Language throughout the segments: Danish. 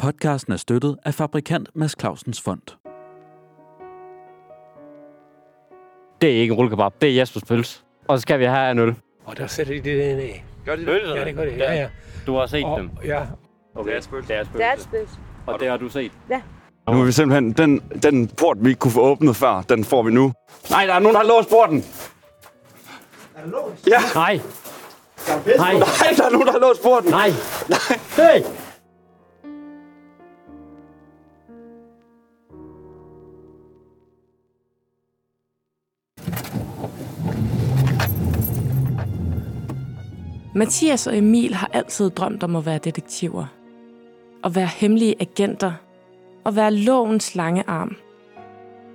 Podcasten er støttet af fabrikant Mads Clausens Fond. Det er ikke en rullekebab, det er Jespers pølse. Og så skal vi have en øl. Og der sætter de det ind i. Gør de det? Pølse? Ja, det gør det. Ja, ja. Du har set Og, dem. ja, Okay. Deres pølse. Deres pølse. That's this. Og det har du set. Nu er vi simpelthen... Den, den port, vi ikke kunne få åbnet før, den får vi nu. Nej, der er nogen, der har låst porten! Nej, nej, Nej, der er nogen, der har låst porten! nej. Hey! Mathias og Emil har altid drømt om at være detektiver. At være hemmelige agenter. At være lovens lange arm.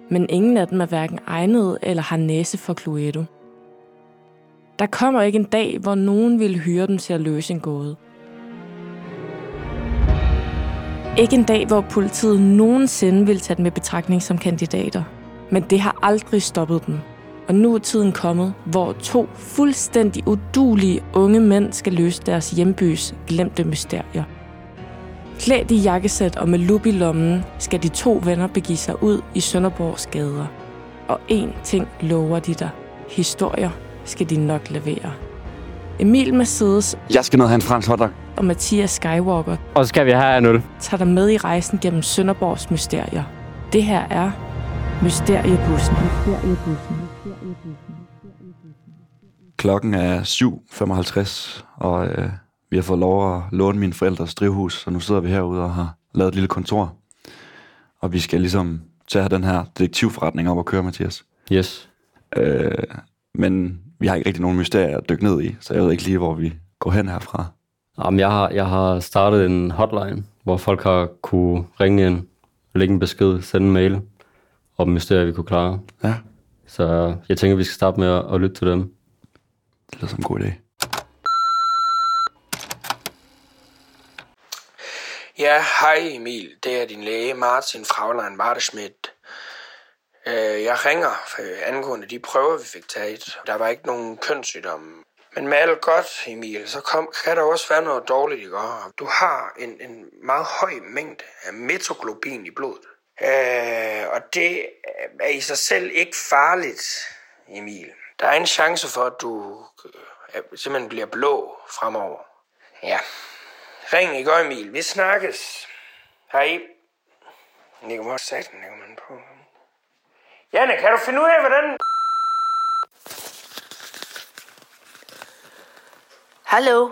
Men ingen af dem er hverken egnet eller har næse for Cluedo. Der kommer ikke en dag, hvor nogen ville hyre dem til at løse en gåde. Ikke en dag, hvor politiet nogensinde ville tage dem i betragtning som kandidater. Men det har aldrig stoppet dem. Og nu er tiden kommet, hvor to fuldstændig udulige unge mænd skal løse deres hjembys glemte mysterier. Klædt i jakkesæt og med lup i lommen, skal de to venner begive sig ud i Sønderborgs gader. Og én ting lover de dig. Historier skal de nok levere. Emil Mercedes Jeg skal ned og have en fransk hotdog. og Mathias Skywalker Og så skal vi have en øl. tager dig med i rejsen gennem Sønderborgs mysterier. Det her er Mysteriebussen. Klokken er 7.55, og øh, vi har fået lov at låne mine forældres drivhus, så nu sidder vi herude og har lavet et lille kontor. Og vi skal ligesom til at have den her detektivforretning op og køre, Mathias. Yes. Øh, men vi har ikke rigtig nogen mysterier at dykke ned i, så jeg ved ikke lige, hvor vi går hen herfra. Jamen, jeg har, jeg har startet en hotline, hvor folk har kunne ringe ind, lægge en besked, sende en mail om mysterier, vi kunne klare. Ja. Så jeg tænker, vi skal starte med at, at lytte til dem. Det lyder som en god idé. Ja, hej Emil. Det er din læge Martin Fraglein Marteschmidt. Øh, jeg ringer øh, angående de prøver, vi fik taget. Der var ikke nogen kønssygdomme. Men med alt godt, Emil, så kom, kan der også være noget dårligt, ikke? Og Du har en, en meget høj mængde af metoglobin i blodet. Øh, og det er i sig selv ikke farligt, Emil. Der er en chance for, at du øh, simpelthen bliver blå fremover. Ja, Ring i går, Emil. Vi snakkes. Hej. Nico, hvor satan lægger man på? Janne, kan du finde ud af, hvordan... Hallo?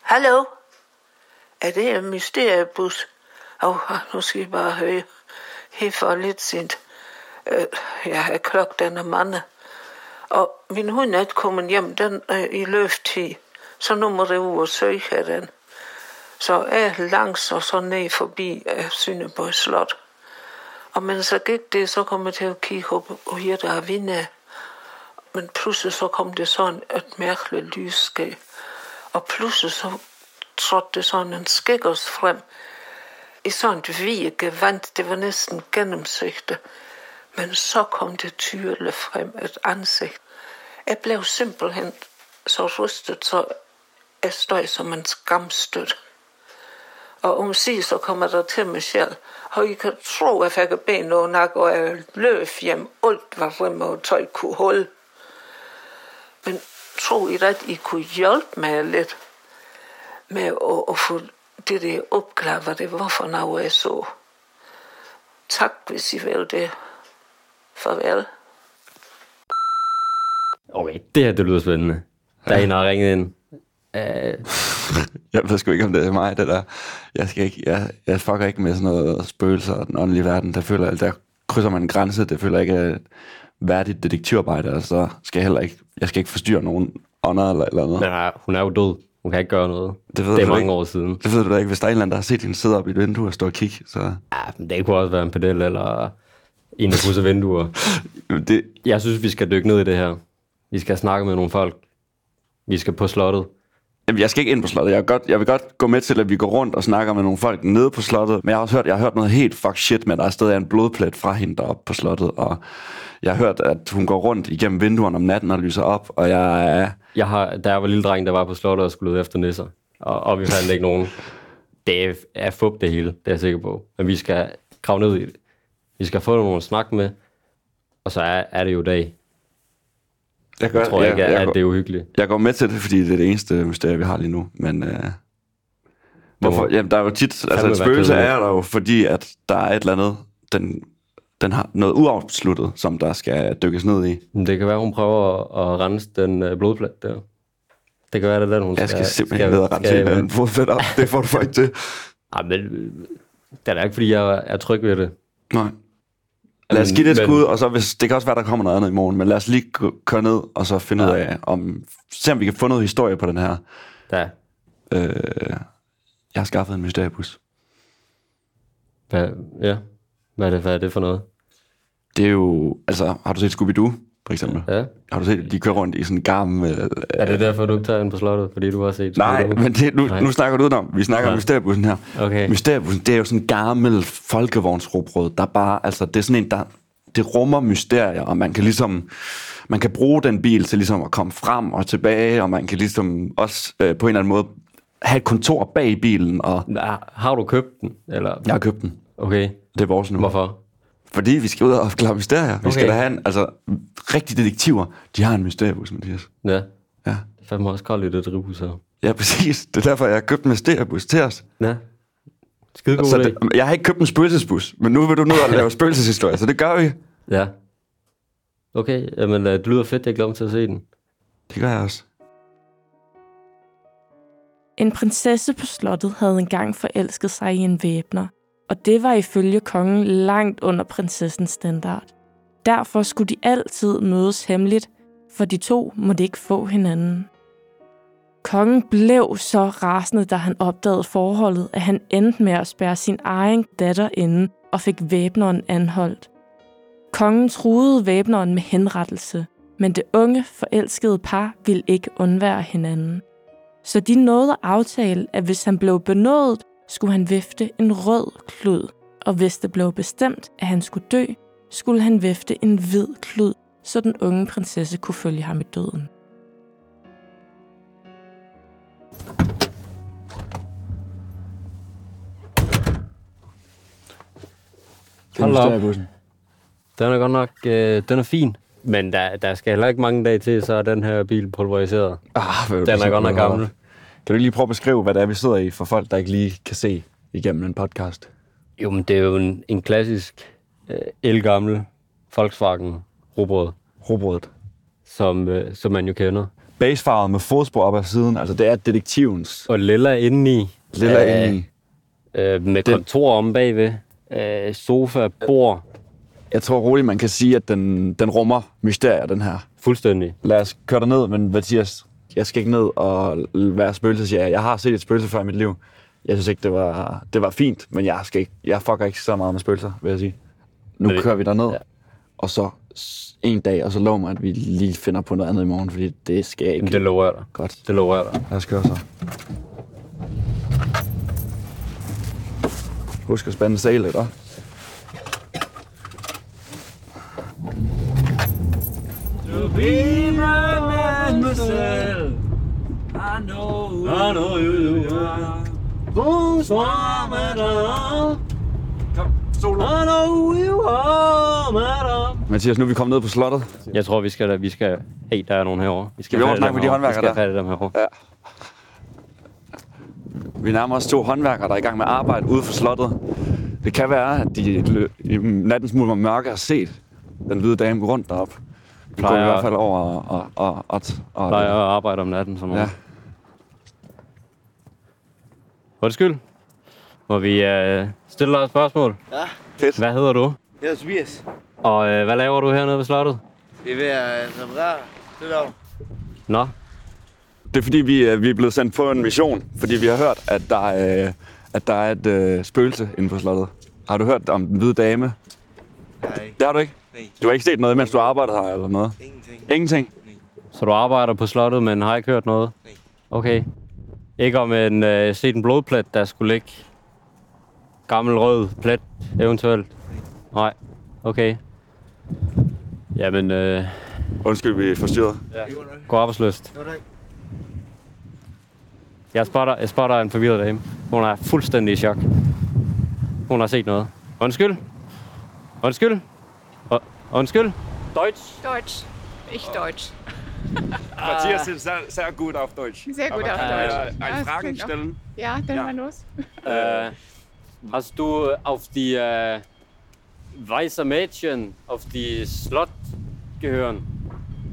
Hallo? Er det en mysteriebus? Åh, oh, nu skal I bare høre. Helt for lidt sent. Øh, jeg er klokken den er mande. Og min hund er ikke kommet hjem den øh, i løftid. Så nu må jeg ud og søge af den. Så jeg langs og så ned forbi af Sønderborg Slot. Og mens jeg gik det, så kom jeg til at kigge op, og her der er vinde. Men pludselig så kom det sådan et mærkeligt lysskab. Og pludselig så trådte det sådan en skækkers frem. I sådan et vige gevand, det var næsten gennemsigtigt. Men så kom det tydeligt frem et ansigt. Jeg blev simpelthen så rystet, så jeg stod som en skamstødt. Og om sig, så kommer der til mig selv. Og I kan tro, at jeg fik ben og nakke, og jeg løb hjem. Alt var rømme og tøj kunne holde. Men tror I da, at I kunne hjælpe mig lidt med at, at få det der opklaret, hvad det var for noget, jeg så? Tak, hvis I vil det. Farvel. Okay, det her, det lyder spændende. Der er en, der har ringet ind. Øh, Jeg ved sgu ikke, om det er mig, det der. Jeg, skal ikke, jeg, jeg fucker ikke med sådan noget spøgelser og den åndelige verden. Der, føler, jeg- der krydser man en grænse. Det føler jeg ikke er et værdigt detektivarbejde. Og så skal jeg heller ikke, jeg skal ikke forstyrre nogen ånder eller et eller andet. men nej, hun er jo død. Hun kan ikke gøre noget. Det ved det er du mange ikke. år siden. Det ved du da ikke, hvis der er en eller anden, der har set hende sidde op i et vindue og stå og kigge. Så Ja, men det kunne også være en pedel eller en, der pudser vinduer. det, Jeg synes, vi skal dykke ned i det her. Vi skal snakke med nogle folk. Vi skal på slottet. Jamen, jeg skal ikke ind på slottet. Jeg vil, godt, jeg vil godt gå med til, at vi går rundt og snakker med nogle folk nede på slottet. Men jeg har også hørt, jeg har hørt noget helt fuck shit, men der er stadig en blodplet fra hende deroppe på slottet. Og jeg har hørt, at hun går rundt igennem vinduerne om natten og lyser op. Og jeg er... Jeg har, da jeg var lille dreng, der var på slottet og skulle lede efter nisser. Og, og vi fandt ikke nogen. det er fup det hele, det er jeg sikker på. Men vi skal grave ned i det. Vi skal få nogen at snakke med, og så er, er det jo dag. Jeg, gør, Jeg tror jeg, ikke, jeg, at, at går, det er uhyggeligt. jeg går med til det, fordi det er det eneste mysterie, vi har lige nu. Men øh, hvorfor? må- Jamen, der er jo tit... Altså, fandme et være spøgelse kedeligt. er der jo, fordi at der er et eller andet, den, den har noget uafsluttet, som der skal dykkes ned i. Men Det kan være, hun prøver at, at rense den øh, blodplet der. Det kan være, det er den, hun Jeg skal ja, simpelthen ned og rense skal- hele den fodfæt op. Det får du faktisk ikke til. Ej, men øh, det er da ikke, fordi jeg er tryg ved det. Nej. Lad os give det et Men- skud, og så hvis, det kan også være, der kommer noget andet i morgen, men lad os lige gå- køre ned, og så finde ja. ud af, om, se om vi kan få noget historie på den her. Ja. Øh, jeg har skaffet en mysteriebus. Hvad, ja. Hvad er, det, hvad er det for noget? Det er jo, altså, har du set Scooby-Doo, for eksempel? Ja. Ja. Har du set, de kører rundt i sådan en gammel... Øh, Er det derfor, du ikke tager ind på slottet? Fordi du har set... nej, Scooby-Doo? men det, nu, Nej. nu snakker du udenom. Vi snakker ja. om mysteriebussen her. Okay. Mysteriebussen, det er jo sådan en gammel folkevognsrobrød, der bare, altså, det er sådan en, der, det rummer mysterier, og man kan ligesom, man kan bruge den bil til ligesom at komme frem og tilbage, og man kan ligesom også øh, på en eller anden måde have et kontor bag bilen, og Nej, ah, Har du købt den? Eller? jeg har købt den. Okay. Det er vores nu. Hvorfor? Fordi vi skal ud og opklare mysterier. Vi okay. skal Okay. da have en, altså, rigtige detektiver, de har en mysteriebus, Mathias. Ja. Ja. Det er fandme også koldt i det drivhus her. Ja, præcis. Det er derfor, jeg har købt en mysteriebus til os. Ja. Skide god Så idé. det, jeg har ikke købt en spøgelsesbus, men nu vil du ned og lave spøgelseshistorie, så det gør vi. Ja. Okay, jamen øh, det lyder fedt. Jeg glæder mig til at se den. Det gør jeg også. En prinsesse på slottet havde engang forelsket sig i en væbner, og det var ifølge kongen langt under prinsessens standard. Derfor skulle de altid mødes hemmeligt, for de to måtte ikke få hinanden. Kongen blev så rasende, da han opdagede forholdet, at han endte med at spærre sin egen datter inde og fik væbneren anholdt. Kongen truede væbneren med henrettelse, men det unge, forelskede par ville ikke undvære hinanden så de nåede at aftale, at hvis han blev benådet, skulle han vifte en rød klud, og hvis det blev bestemt, at han skulle dø, skulle han vifte en hvid klud, så den unge prinsesse kunne følge ham i døden. Hold da op. Den er godt nok, øh, den er fin. Men der, der skal heller ikke mange dage til, så er den her bil pulveriseret. Ah, hvad vil Den du er sige, godt nok Peter? gammel. Kan du ikke lige prøve at beskrive, hvad det er, vi sidder i, for folk, der ikke lige kan se igennem en podcast? Jo, men det er jo en, en klassisk øh, elgammel Volkswagen robrød, Robrødet. som, øh, som man jo kender. Basefarvet med fodspor op ad siden, altså det er detektivens Og lilla indeni, lille Ja. ja, indeni. øh, med kontor om bagved, øh, sofa, bord, Jeg tror roligt, man kan sige, at den, den rummer mysterier, den her. fuldstændig. Lad os køre dig ned, men Mathias, jeg skal ikke ned og l- være spøgelsesjæger. Jeg har set et spøgelse før i mit liv. Jeg synes ikke, det var, det var fint, men jeg, skal ikke, jeg fucker ikke så meget med spøgelser, vil jeg sige. Nu Men- kører vi derned, ja. ja. og så s- en dag, og så lover mig, at vi lige finder på noget andet i morgen, fordi det skal jeg ikke. Jamen, det lover jeg dig. Godt. Det lover jeg dig. Lad os køre så. Husk at spænde sælet, hva'? Mathias, nu er vi kommet ned på slottet. Jeg tror, vi skal... da- Vi skal hey, der er nogen herovre. Vi Skal vi over have og dem snakke med de herovre. håndværkere Vi der? skal have dem herovre. Vi nærmer os to håndværkere, der er i gang med at arbejde ude for slottet. Det kan være, at de i lø- i nattens mulm og mørke har set den hvide dame gå rundt deroppe. Vi går i Plejer- hvert fald over og... og, og, og, Plejer og at arbejde om natten sådan noget. ja. Ja. Undskyld. Må vi øh, stille dig et spørgsmål? Ja. Fedt. Hvad hedder du? Jeg hedder Tobias. Og øh, hvad laver du hernede ved slottet? Vi er ved at altså, reparere det der. Nå, Det er fordi, vi, øh, vi er blevet sendt på en mission, fordi vi har hørt, at der, er, øh, at der er et øh, spøgelse inde på slottet. Har du hørt om den hvide dame? Nej, Det har du ikke? Nej. Du har ikke set noget, mens du arbejdede her eller noget? ingenting. Ingenting? så du arbejder på slottet, men har ikke hørt noget? Nej. Okay. Ikke om en øh, set en blodplet, der skulle ligge? Gammel rød plet, eventuelt? Nej. Okay. Jamen, øh, Undskyld, vi er forstyrret. god arbejdsløst. Jo, tak. Jeg spotter, jeg spotter en forvirret dame. Hun er fuldstændig i chok. Hun har set noget. Undskyld. Undskyld. Uh, undskyld. Deutsch. Deutsch. Ich Deutsch. Matthias ist sehr, sehr gut auf Deutsch. Sehr gut auf kann Deutsch. ich, äh, Ja, Ein das Fragen klingt auch- stellen. Ja, dann Ja. mal los. Äh, hast du auf die äh, weiße Mädchen auf die Slot gehören?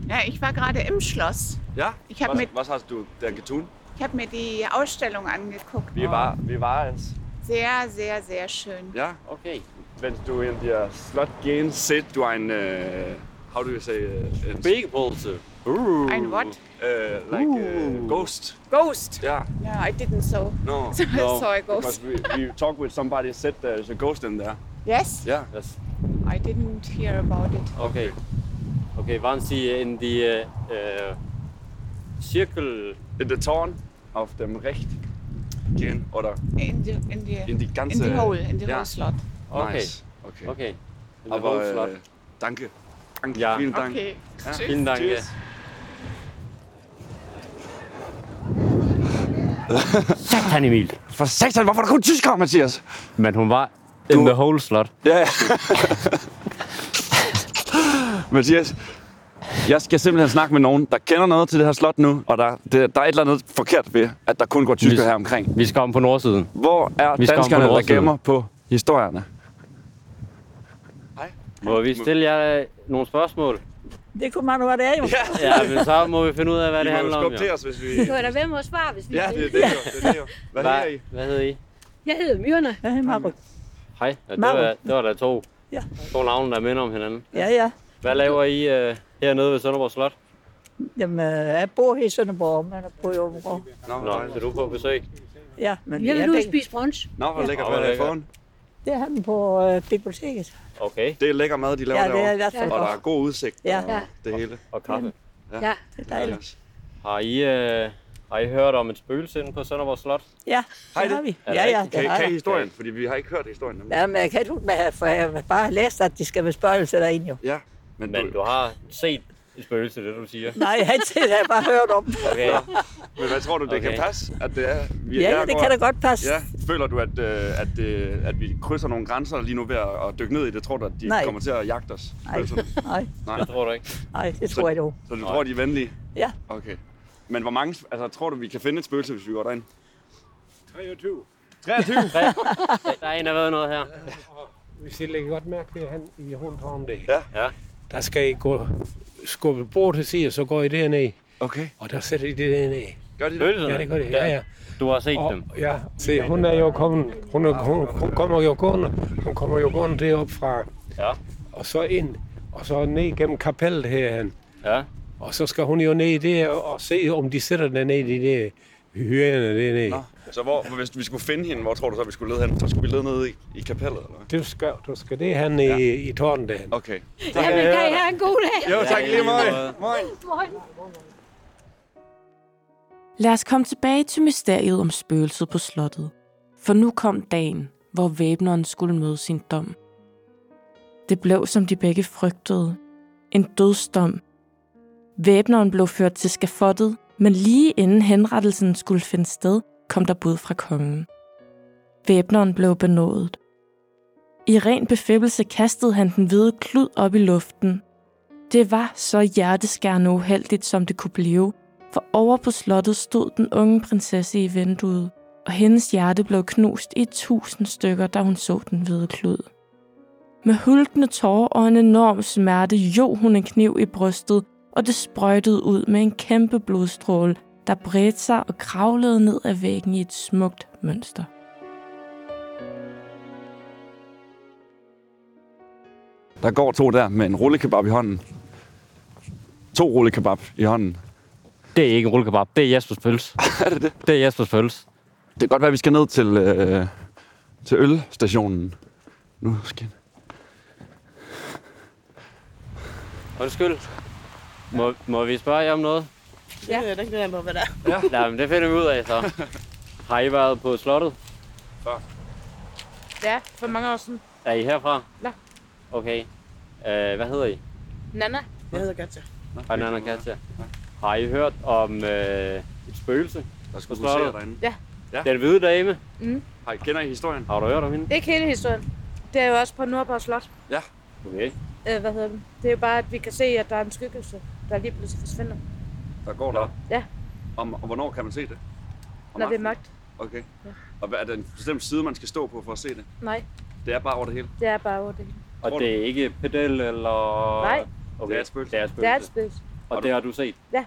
Ja, ich war gerade im Schloss. Ja? Ich hab was, mit- was hast du denn getan? Ich habe mir die Ausstellung angeguckt. Wie war, wie war es? Sehr, sehr, sehr schön. Ja? Okay. Wenn du in die Slot gehen, siehst du ein. Äh, how do you say? äh, ein- Bigpulse. Ein what? äh, like uh, ghost. Ghost. Yeah. No, I didn't so. No. I saw a Because ghost. we, we talked with somebody said there's a ghost in there. Yes? Yeah. Das, I didn't hear about it. okay. Okay, waren Sie in die äh, Zirkel? In the town auf dem Recht gehen oder In the, in the, in die in ganze. the hole, in the ja. whole slot. Okay. Nice. Okay. Okay. In der Aber Hochslot. äh, danke. danke. Ja. Vielen Dank. Okay. Ja. Tschüss. Vielen Dank. Tschüss. Satan Emil. For satan, hvorfor er der kun tyskere, Mathias? Men hun var in the whole slot. Ja, ja. Mathias, jeg skal simpelthen snakke med nogen, der kender noget til det her slot nu, og der, det, der er et eller andet forkert ved, at der kun går tyskere Hvis- her omkring. Vi skal om på nordsiden. Hvor er Vi skal om på danskerne, der nordsiden. gemmer på historierne? Må vi stille jer øh, nogle spørgsmål? Det kunne man nu være det, jo. Ja. Ja, men så må vi finde ud af, hvad det handler om. Jo. os, hvis vi... Du er da ved med at svare, hvis vi Ja, det er det, jo. Det er det, jo. Hvad Hva, er I? hvad hedder I? Jeg hedder Myrne. Jeg hedder Margot. Hej. Ja, det, Marvel. var, det var der to. Ja. To navne, der minder om hinanden. Ja, ja. Hvad laver I øh, hernede ved Sønderborg Slot? Jamen, øh, jeg bor her i Sønderborg, men jeg bor i Åbenrå. Nå, så du er på besøg. Ja, men jeg vil ud spise brunch. Nå, hvor lækker Åh, mad hvor har I lækkert. fået? Det har den på øh, biblioteket. Okay. Det er lækker mad, de laver Ja, det er i derovre. hvert fald Og der er godt. god udsigt Ja. og det hele. Og kaffe. Ja, det er dejligt. Har I, øh, har I hørt om et spøgelse inde på Sønderborg Slot? Ja, Hej, det det- har vi. Er det Ja, ja, rigtigt? det Kan, har kan I jeg. historien? Fordi vi har ikke hørt historien. nemlig. Ja, men jeg kan ikke huske, hvad jeg- for jeg har bare læst, at de skal med spørgelser derinde jo. Ja, men, Men du har set et spøgelse, det du siger. Nej, jeg har ikke set, det, jeg har bare hørt om. Okay. men hvad tror du, det Okay. kan passe, at det er? Vi Ja, ja, jeg det går- kan da godt passe. Ja, føler du, at, øh, at, øh, at vi krydser nogle grænser lige nu ved at, at dykke ned i det? Tror du, at de Nej. kommer til at jagte os? Nej, Føler du- nej, Nej. Det tror du ikke. nej, det tror jeg dog. Så du tror, de er venlige? Ja. Okay. Men hvor mange, altså, tror du, vi kan finde et spøgelse, hvis vi går derind? 23. Der er en, der ved noget her. Hvis I lægger godt mærke til, at han i rundt om det. Ja. Ja. Der skal I gå, skubbe bordet til side, så går I derned. Okay. Og der sætter I det derned. Gør de det? Spøgelserne? Ja, det gør det. Ja, ja. Du har set Og, dem. ja, se, hun er jo kommet, hun, er, hun, hun kommer jo gående, hun kommer jo gående deroppe fra, Ja. og så ind, og så ned gennem kapellet herhen. Ja. Og så skal hun jo ned i det og se, om de sætter den ned i de der hyerne dernede. Nå. Så hvor, hvis vi skulle finde hende, hvor tror du så, vi skulle lede hen? Så skulle vi lede ned i, i kapellet, eller hvad? Du skal, du skal det han i, i tårnet derhen. Okay. Jamen, kan I have en god dag? Jo, tak lige meget. Lad os komme tilbage til mysteriet om spøgelset på slottet. For nu kom dagen, hvor væbneren skulle møde sin dom. Det blev, som de begge frygtede. En dødsdom. Væbneren blev ført til skafottet, men lige inden henrettelsen skulle finde sted, kom der bud fra kongen. Væbneren blev benådet. I ren befippelse kastede han den hvide klud op i luften. Det var så hjerteskærende uheldigt, som det kunne blive, for over på slottet stod den unge prinsesse i vinduet, og hendes hjerte blev knust i tusind stykker, da hun så den hvide klud. Med hulkende tårer og en enorm smerte jog hun en kniv i brystet, og det sprøjtede ud med en kæmpe blodstråle, der bredte sig og kravlede ned ad væggen i et smukt mønster. Der går to der med en rullekebab i hånden. To rullekebab i hånden. Det er ikke en rullekebab. Det er Jespers pølse. er det det? Det er Jespers pølse. Det kan godt være, at vi skal ned til, øh, til ølstationen. Nu skal Undskyld. Må, må vi spørge jer om noget? Ja, det er ikke det, hvad der er. Nej, men det finder vi ud af så. Har I været på slottet? Ja, for mange år siden. Er I herfra? Ja. Okay. Øh, hvad hedder I? Nana. Jeg hedder Katja. Hej, Nana og Katja. Har I hørt om øh, et spøgelse? Der skulle huserer derinde. Ja. ja. Den hvide dame. Mm. Har I kender I historien? Har du hørt om hende? Ikke hele historien. Det er jo også på Nordborg Slot. Ja. Okay. Øh, hvad hedder den? Det er jo bare, at vi kan se, at der er en skyggelse, der lige pludselig forsvinder. Der går der. Ja, Om, og hvornår kan man se det? når Om det er aftenen? mørkt. Okay. Ja. Og hvad er der en bestemt side, man skal stå på for at se det? Nej, Det er bare over det hele. det er bare over det hele. Og det er ikke pedel eller... Nej. Okay. Det er et spøgelse. Det er et Det er et spøgelse. spøgelse. Og det har du set? Ja.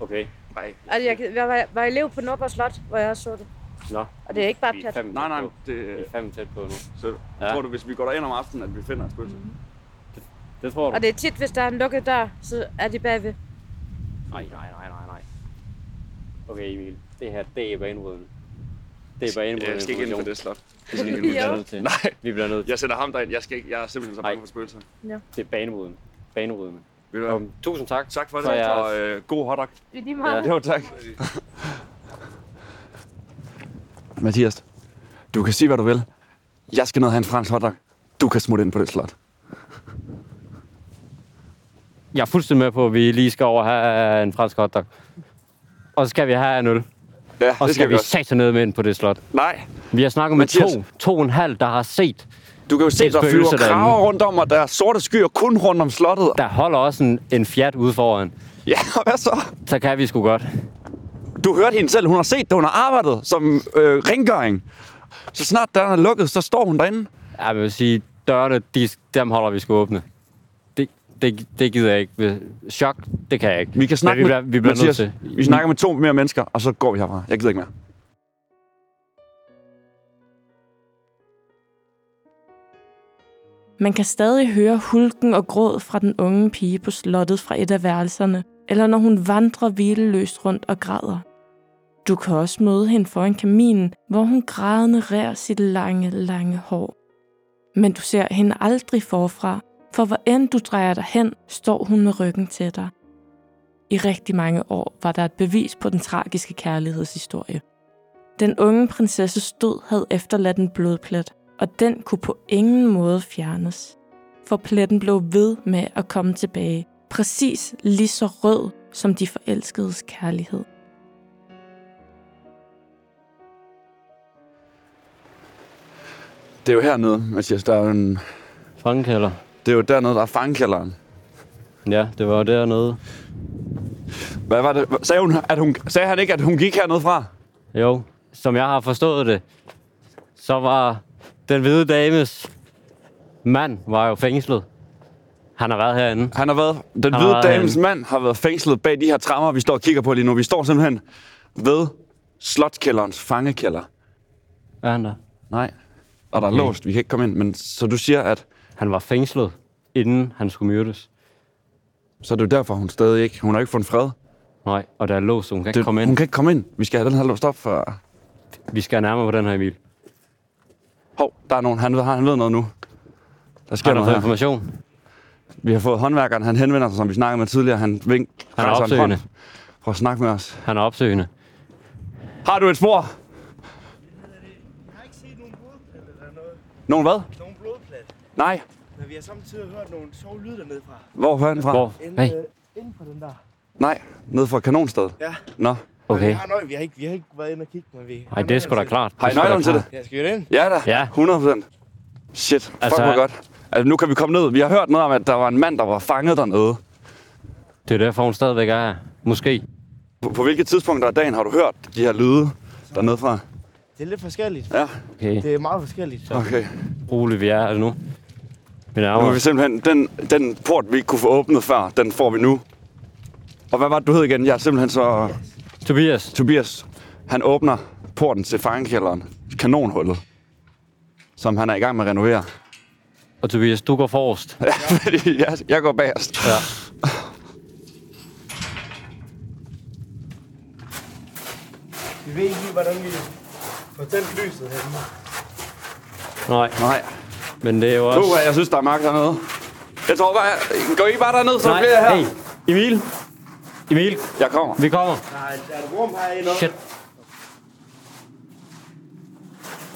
Okay. Nej. Altså, jeg, kan- jeg var, var elev på Nordborg Slot, hvor jeg også så det. Nå. Og det er ikke bare pjat. Nej, nej. Det... Vi er fandme tæt på nu. Så ja. øh, tror du, hvis vi går derind om aftenen, at vi finder et spøgelse? Mm. Det, det, tror du? Og det er tit, hvis der er en lukket dør, så er de bagved. Nej, nej, nej, nej, nej. Okay, Emil. Det her, det er banebrydende. Det er banebrydende. Jeg skal ikke ind på det slot. Vi skal Vi bliver nødt til. Nej. Vi bliver nødt til. Jeg sender ham derind. Jeg, skal ikke, jeg er simpelthen så bange for spøgelser. Ja. Det er banebrydende. Banebrydende. Um, tusind tak. Tak for Så det, jeg- og øh, god hotdog. I lige meget. Jo, tak. Mathias, du kan sige, hvad du vil. Jeg skal ned og have en fransk hotdog. Du kan smutte ind på det slot. Jeg er fuldstændig med på, at vi lige skal over og have en fransk hotdog. Og så skal vi have en øl. Ja, og så skal vi sætte ned med ind på det slot. Nej. Vi har snakket med Mathias. to, to og en halv, der har set Du kan jo se, et der flyver spøgelse derinde. kraver rundt om, og der er sorte skyer kun rundt om slottet. Der holder også en, en fjat ude foran. Ja, og hvad så? Så kan vi sgu godt. Du hørte hende selv. Hun har set det. Hun har arbejdet som øh, rengøring. Så snart døren er lukket, så står hun derinde. Ja, men jeg vil sige, dørene, de, dem holder vi sgu åbne. Det, det, det gider jeg ikke. Hvis- Chok, det kan jeg ikke. Vi kan men snakke vi bliver, med, vi bliver nødt Mathias, til. Vi snakker med to mere mennesker, og så går vi herfra. Jeg gider ikke mere. Man kan stadig høre hulken og gråd fra den unge pige på slottet fra et af værelserne, eller når hun vandrer hvileløst rundt og græder. Du kan også møde hende foran kaminen, hvor hun grædende rærer sit lange, lange hår. Men du ser hende aldrig forfra, for hvor end du drejer dig hen, står hun med ryggen til dig. I rigtig mange år var der et bevis på den tragiske kærlighedshistorie. Den unge prinsesses død havde efterladt en blodplet, og den kunne på ingen måde fjernes. For pletten blev ved med at komme tilbage, præcis lige så rød som de forelskedes kærlighed. Det er jo hernede, Mathias. Der er jo en... Fangekælder. Det er jo dernede, der er fangekælderen. Ja, det var dernede. Hvad var det? Sagde, hun, at hun, sagde han ikke, at hun gik hernede fra? Jo, som jeg har forstået det, så var den hvide dames mand var jo fængslet. Han har været herinde. Han har været... Den hvide dames mand har været fængslet bag de her trammer, vi står og kigger på lige nu. Vi står simpelthen ved slotskælderens fangekælder. Er han der? Nej. Og der er låst. Vi kan ikke komme ind. Men så du siger, at... Han var fængslet, inden han skulle myrdes. Så er det jo derfor, hun stadig ikke... Hun har ikke fundet fred. Nej, og der er låst, så hun kan ikke Det- komme ind. Hun kan ikke komme ind. Vi skal have den her låst op for... Vi skal nærmere på den her, Emil. Hov, der er nogen. Han ved, han ved noget nu. Der sker Har du noget fået her. information? Vi har fået håndværkeren. Han henvender sig, som vi snakkede med tidligere. Han vink. Han er rejser en opsøgende. hånd. Prøv at snakke med os. Han er opsøgende. Har du et spor? Nogen hvad? Nogle blodplat. Nej. Men vi har samtidig hørt nogle sjove lyde dernede fra. Hvor hører den fra? Hvor? Inde, Hey. hey. inde på den der. Nej, nede fra kanonstedet. Ja. Nå. Men øh, Vi har, nøj, vi, har ikke, vi har ikke været inde og kigge, men vi... har det nøglerne er sgu da til det. klart. Har I nøglerne til det? Ja, skal vi ind? Ja da, ja. 100 procent. Shit, fuck Altså- altså, hvor godt. Altså, nu kan vi komme ned. Vi har hørt noget om, at der var en mand, der var fanget dernede. Det er derfor, hun stadigvæk er her. Måske. På, på hvilke tidspunkter af dagen har du hørt de her lyde dernede fra? Det er lidt forskelligt. Ja. Okay. Det er meget forskelligt. Okay. Rolig vi er her nu. Vi Nu er nærmer vi os. simpelthen, den, den port, vi ikke kunne få åbnet før, den får vi nu. Og hvad var det, du hed igen? Jeg er simpelthen så... Tobias. Tobias. Han åbner porten til fangekælderen. Kanonhullet. Som han er i gang med at renovere. Og Tobias, du går forrest. Ja, fordi jeg, jeg går bagerst. Ja. Vi ved ikke lige, hvordan vi får tændt lyset herinde. Nej. Nej. Men det er jo også... Puh, jeg synes, der er mørkt hernede. Jeg tror bare... Går I bare derned, så Nej, bliver jeg her? hey, Emil. Emil. Jeg kommer. Vi kommer. Nej, er der rum herinde? Shit.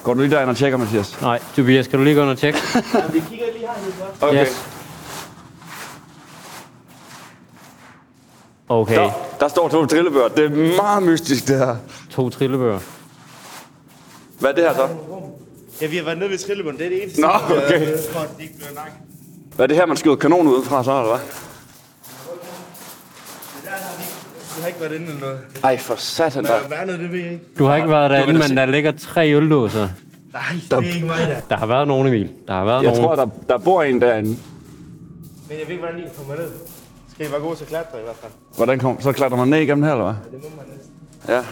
Går du lige derind og tjekker, Mathias? Nej, Tobias, kan du lige gå ind og tjekke? Ja, vi kigger lige hernede først. Okay. Okay. Der, der står to trillebørn. Det er meget mystisk, det her. to trillebøger. Hvad er det her så? Ja, vi har været nede ved Trillebund. Det er det eneste. Nå, sted, okay. øh, for at de ikke bliver nakket. Hvad er det her, man skyder kanonen ud fra så, eller hvad? Vi har ikke været inde eller noget. Ej, for satan Men da. værnet, det ved jeg ikke. Du har ikke været Du derinde, vil da men der ligger tre øldåser. Nej, det er ikke mig der. Der har været nogen, Emil. Der har været Jeg nogen. tror, der, der bor en derinde. Men jeg ved ikke, hvordan I kan komme ned. Skal I være gode til at klatre i hvert fald? Hvordan kom? Så klatrer man ned igennem her, eller hvad? Det må man næsten. Ja.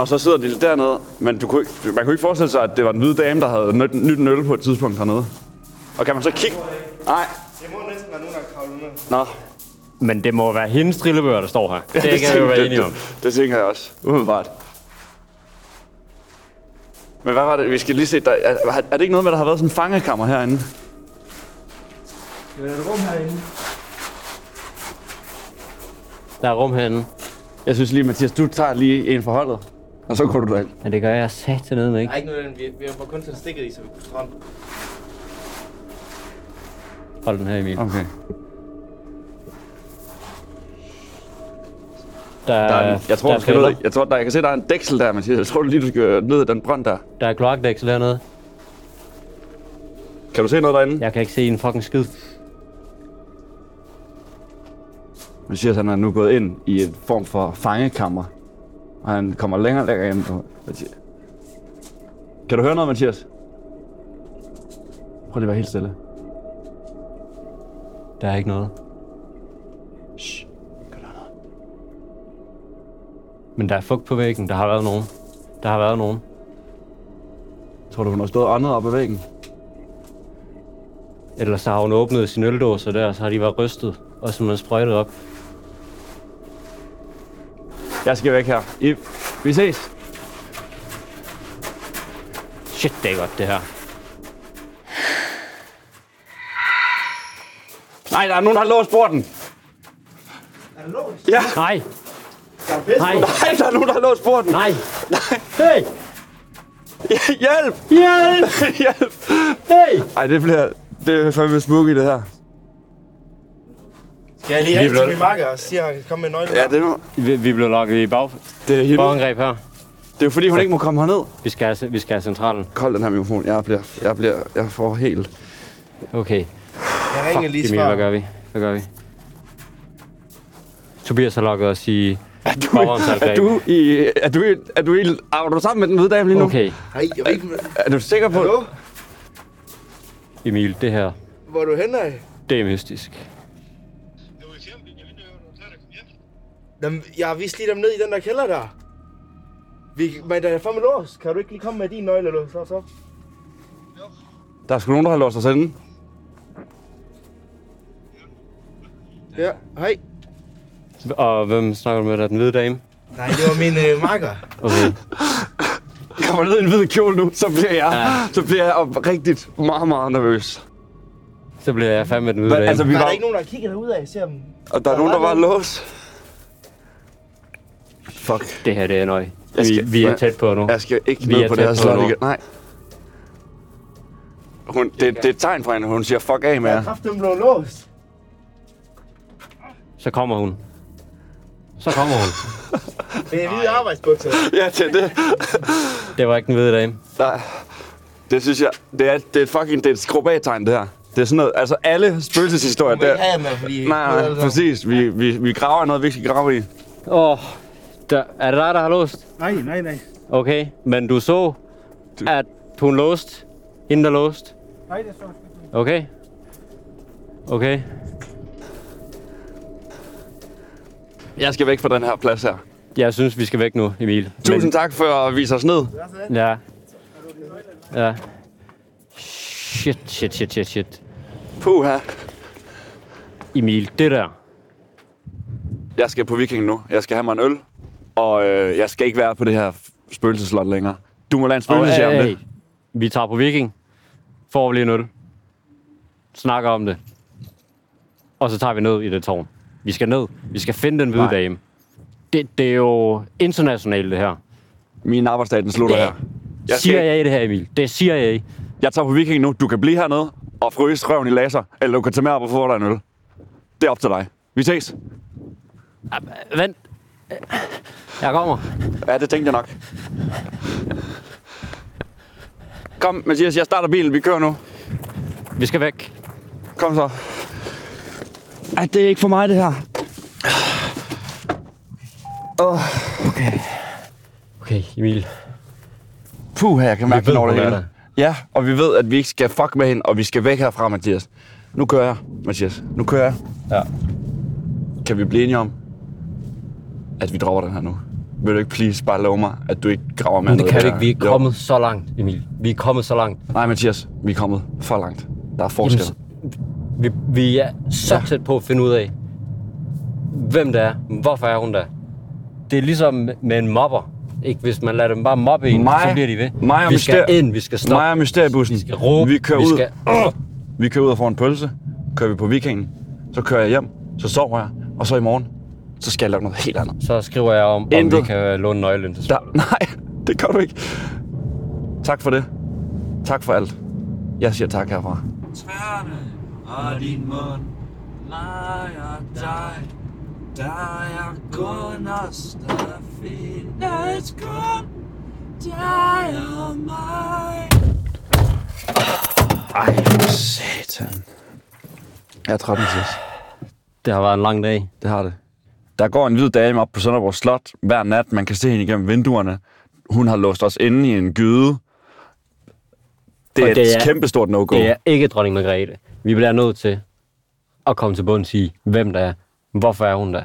Og så sidder de dernede, men du kunne ikke, man kunne ikke forestille sig, at det var den hvide dame, der havde nyt, nyt en øl på et tidspunkt hernede. Og kan man så kigge? Nej. Det må næsten være nogen, der kravler ned. Nå. Men det må være hendes trillebøger, der står her. Ja, det, det kan vi jo tænker- være enige om. Det, det, tænker jeg også, umiddelbart. Men hvad var det? Vi skal lige se, der, er, er, det ikke noget med, at der har været sådan en fangekammer herinde? Skal vi have et rum herinde? Der er rum herinde. Jeg synes lige, Mathias, du tager lige en for holdet. Og så går du derind. Men det gør jeg sat ned Der med, er ikke? ikke noget, af den. vi, vi var kun sådan stikket i, så vi kunne stramme. Hold den her, Emil. Okay. Der, Øh, Der er en, jeg tror, der, du skal ned. Jeg tror, der, jeg kan se, der er en dæksel der, Mathias. Jeg tror du lige, du skal ned i den brønd der. Der er kloakdæksel hernede. Kan du se noget derinde? Jeg kan ikke se en fucking skid. Mathias, han er nu gået ind i en form for fangekammer. Og han kommer længere og længere ind på. Mathias. Kan du høre noget, Mathias? Prøv lige at være helt stille. Der er ikke noget. Shh. Men der er fugt på væggen. Der har været nogen. Der har været nogen. Jeg tror du, hun har stået og åndet op ad væggen? Ellers så har hun åbnet sin øldåser der, og så har de været rystet. Og så man sprøjtet op. Jeg skal væk her. I, vi ses. Shit, det er godt, det her. Nej, der er nogen, der har låst porten. Ja. Nej. Nej. Nej, der er nogen, der har låst porten. Nej. Nej. Hey. Hjælp! Hjælp! Hjælp! Hey! Ej, det bliver... Det er fandme spooky, det her. Skal jeg lige Lige have til blot. min makker og sige, at kom med nøglen? Ja, det må... Vi, vi blev lukket i bag, Det er helt... bagangreb her. Det er jo fordi, hun ikke må komme herned. Vi skal, have- vi skal have centralen. Kold den her mikrofon. Jeg bliver... Jeg bliver... Jeg får helt... Okay. Jeg ringer lige Fuck, Emil, hvad svar. gør vi? Hvad gør vi? Tobias har lukket os i bagvognsangreb. Er du i... Er du i... Er du i... Er du sammen med den hvide dame lige nu? Okay, Hej, jeg ved ikke, Er du sikker på... Hallo? Emil, det her, hvor er du henne af? det er mystisk. Jamen, jeg har vist lige dem ned i den der kælder der. Vi, men der er fandme lås. Kan du ikke lige komme med din nøgle eller låse os op? Der er sgu nogen, der har låst os inde. Ja, hej. Og hvem snakker du med? Der er den hvide dame? Nej, det var min øh, makker. Okay. Kommer ned i en hvid kjole nu, så bliver jeg... Så bliver jeg op rigtigt meget, meget nervøs. Så bliver jeg fandme den hvide Hvad, dame. altså, Altså, vi Der er var... der ikke nogen, der har kigget derude af, ser dem. Og der er nogen, der var låst. Fuck. det her, det er nøj. Jeg Vi, skal- vi er tæt på nu. Jeg skal ikke Vi er ned på det tæt her på slot nu. igen. Nej. Hun, det, det er et tegn fra hende. Hun siger, fuck af med Der er jer. kraften blev låst. Så kommer hun. Så kommer hun. Det er hvide arbejdsbukser. Ja, det er det. Det var ikke den hvide dame. Nej. Det synes jeg, det er, det er et fucking, det er et skrobat-tegn, det her. Det er sådan noget, altså alle spøgelseshistorier, det Men er, ikke have med, fordi... Nej, nej, præcis. Vi, vi, vi graver i noget, vi ikke skal grave i. Åh, oh, der, er det dig, der har låst? Nej, nej, nej. Okay, men du så, Du- at hun låst. Hende, der låst. Nej, det er så. Okay. Okay. Jeg skal væk fra den her plads her. Jeg synes, vi skal væk nu, Emil. Tusind men... tak for at vise os ned. Men, ja. Ja. Shit, shit, shit, shit, shit. Puh her. Emil, det der. Jeg skal på Viking nu. Jeg skal have mig en øl. Og øh, jeg skal ikke være på det her spøgelseslot længere. Du må lade en spøgelseshjerne hey, oh, hey, hey. Vi tager på Viking. Får vi lige en øl. Snakker om det. Og så tager vi ned i det tårn. Vi skal ned. Vi skal finde den hvide Nej. dame. Det, det er jo internationalt, det her. Min arbejdsdag, den slutter Ja. her. Jeg, skal, Siger ikke- jeg det her, Emil? Det siger jeg ikke. jeg tager på Viking nu. Du kan blive hernede og fryse røven i laser. Eller du kan tage med op og få dig en øl. Det er op til dig. Vi ses. Vent. Jeg kommer. Ja, det tænkte jeg nok. Kom, Mathias, jeg starter bilen. Vi kører nu. Vi skal væk. Kom så. Ej, det er ikke for mig, det her. Oh. Okay. Okay, Emil. Puh, jeg kan mærke, ved, den over det hun er hele. Ja, og vi ved, at vi ikke skal fuck med hende, og vi skal væk herfra, Mathias. Nu kører jeg, Mathias. Nu kører jeg. Ja. Kan vi blive enige om, at vi dropper den her nu? Vil du ikke please bare love mig, at du ikke graver med Men det kan noget vi her? ikke. Vi er Jo. kommet så langt, Emil. Vi er kommet så langt. Nej, Mathias. Vi er kommet for langt. Der er forskel. Jamen, Vi, vi er så ja. tæt på at finde ud af, hvem det er, hvorfor er hun der. Det er ligesom med en mobber. Ikke? Hvis man lader dem bare mobbe en, Mig- så bliver de ved. mig og vi skal myster- ind, vi skal stoppe. Mig og mysteriebussen. Vi skal råbe, Vi kører vi ud. skal- Skal... Vi kører ud og får en pølse. Kører vi på weekenden. Så kører jeg hjem. Så sover jeg. Og så i morgen, så skal jeg lave noget helt andet. Så skriver jeg om, om vi Intet. kan låne nøglen til Der, nej, det kan du ikke. Tak for det. Tak for alt. Jeg siger tak herfra. Tærne og din mund leger dig. Der er kun os, der findes kun dig og mig. Ej, satan. Jeg er træt, Mathias. Det har været en lang dag. Det har det. Der går en hvid dame op på Sønderborg Slot hver nat. Man kan se hende igennem vinduerne. Hun har låst os inde i en gyde. Det Og er, et kæmpestort no-go. Det er ikke dronning Margrethe. Vi bliver nødt til at komme til bunds i, hvem der er. Hvorfor er hun der?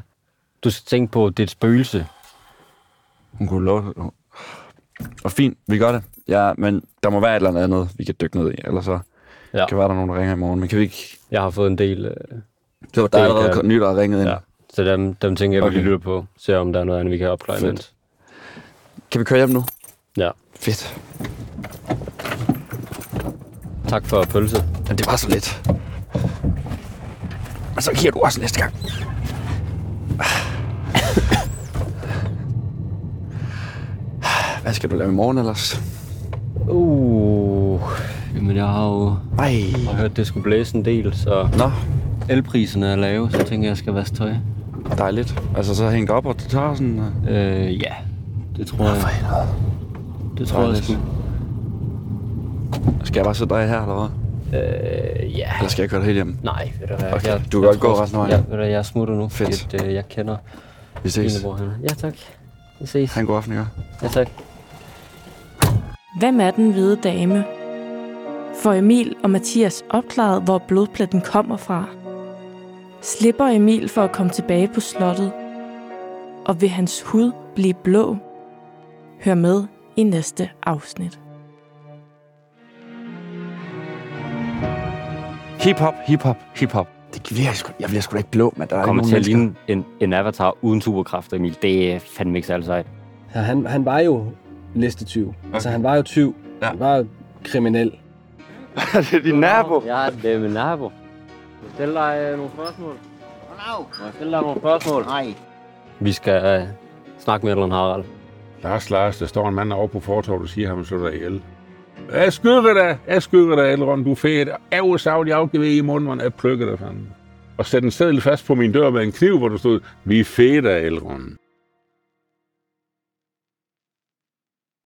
Du skal tænke på, at det er et spøgelse. Hun kunne love det. Og fint, vi gør det. Ja, men der må være et eller andet, vi kan dykke ned i. Eller så ja. kan være, der er nogen, der ringer i morgen. Men kan vi ikke... Jeg har fået en del... Øh, det var der er allerede ny, der har ringet ind. Ja. Så dem, dem tænker jeg, okay. vi Okay. lytter på. Se om der er noget andet, vi kan opklare Fedt. imens. Kan vi køre hjem nu? Ja. Fedt. Tak for pølse. Men det var så lidt. Og så giver du også næste gang. Hvad skal du lave i morgen ellers? Uh, jamen jeg har jo Ej. Jeg har hørt, det skulle blæse en del, så... Nå. Elpriserne er lave, så tænker jeg, jeg skal vaske tøj. Dejligt. Altså så hængt op, og du tager sådan... Øh, ja. Det tror jeg. Det tror jeg sgu. Skal jeg bare sætte dig her, eller hvad? Øh, ja. Eller skal jeg køre dig helt hjem? Nej, ved du hvad. Okay, jeg, du kan jeg godt gå tror- resten af vejen. Ja, ved du, hvad, jeg smutter nu, Fedt. fordi at, øh, jeg kender Vi ses. Line, hvor han er. Ja, tak. Vi ses. Han god aften, ikke? Ja, tak. Hvem er den hvide dame? Får Emil og Mathias opklaret, hvor blodpletten kommer fra? Slipper Emil for at komme tilbage på slottet? Og vil hans hud blive blå? Hør med i næste afsnit. Hip-hop, hip-hop, hip-hop. Det bliver jeg sgu, jeg bliver sgu da ikke blå, men der er Kommer ikke til at nogen ligne en, en avatar uden superkræfter, Emil. Det er fandme ikke særlig sejt. Ja, han, han var jo listetyv. Okay. Altså, han var jo tyv. Ja. Han var jo kriminel. det er din nabo. Ja, det er min nabo. Må jeg stille dig øh, nogle spørgsmål? Må jeg stille dig nogle spørgsmål? Nej. Vi skal øh, snakke med Ellen Harald. Lars, Lars, der står en mand over på fortorvet og siger, at han vil slå dig ihjel. Jeg skyder dig, jeg skyder dig, Elrond, du er fedt. Ævresavlig afgivet i munden, man. jeg plukker dig, fanden. Og sæt en seddel fast på min dør med en kniv, hvor der stod, vi er fedt af Elrond.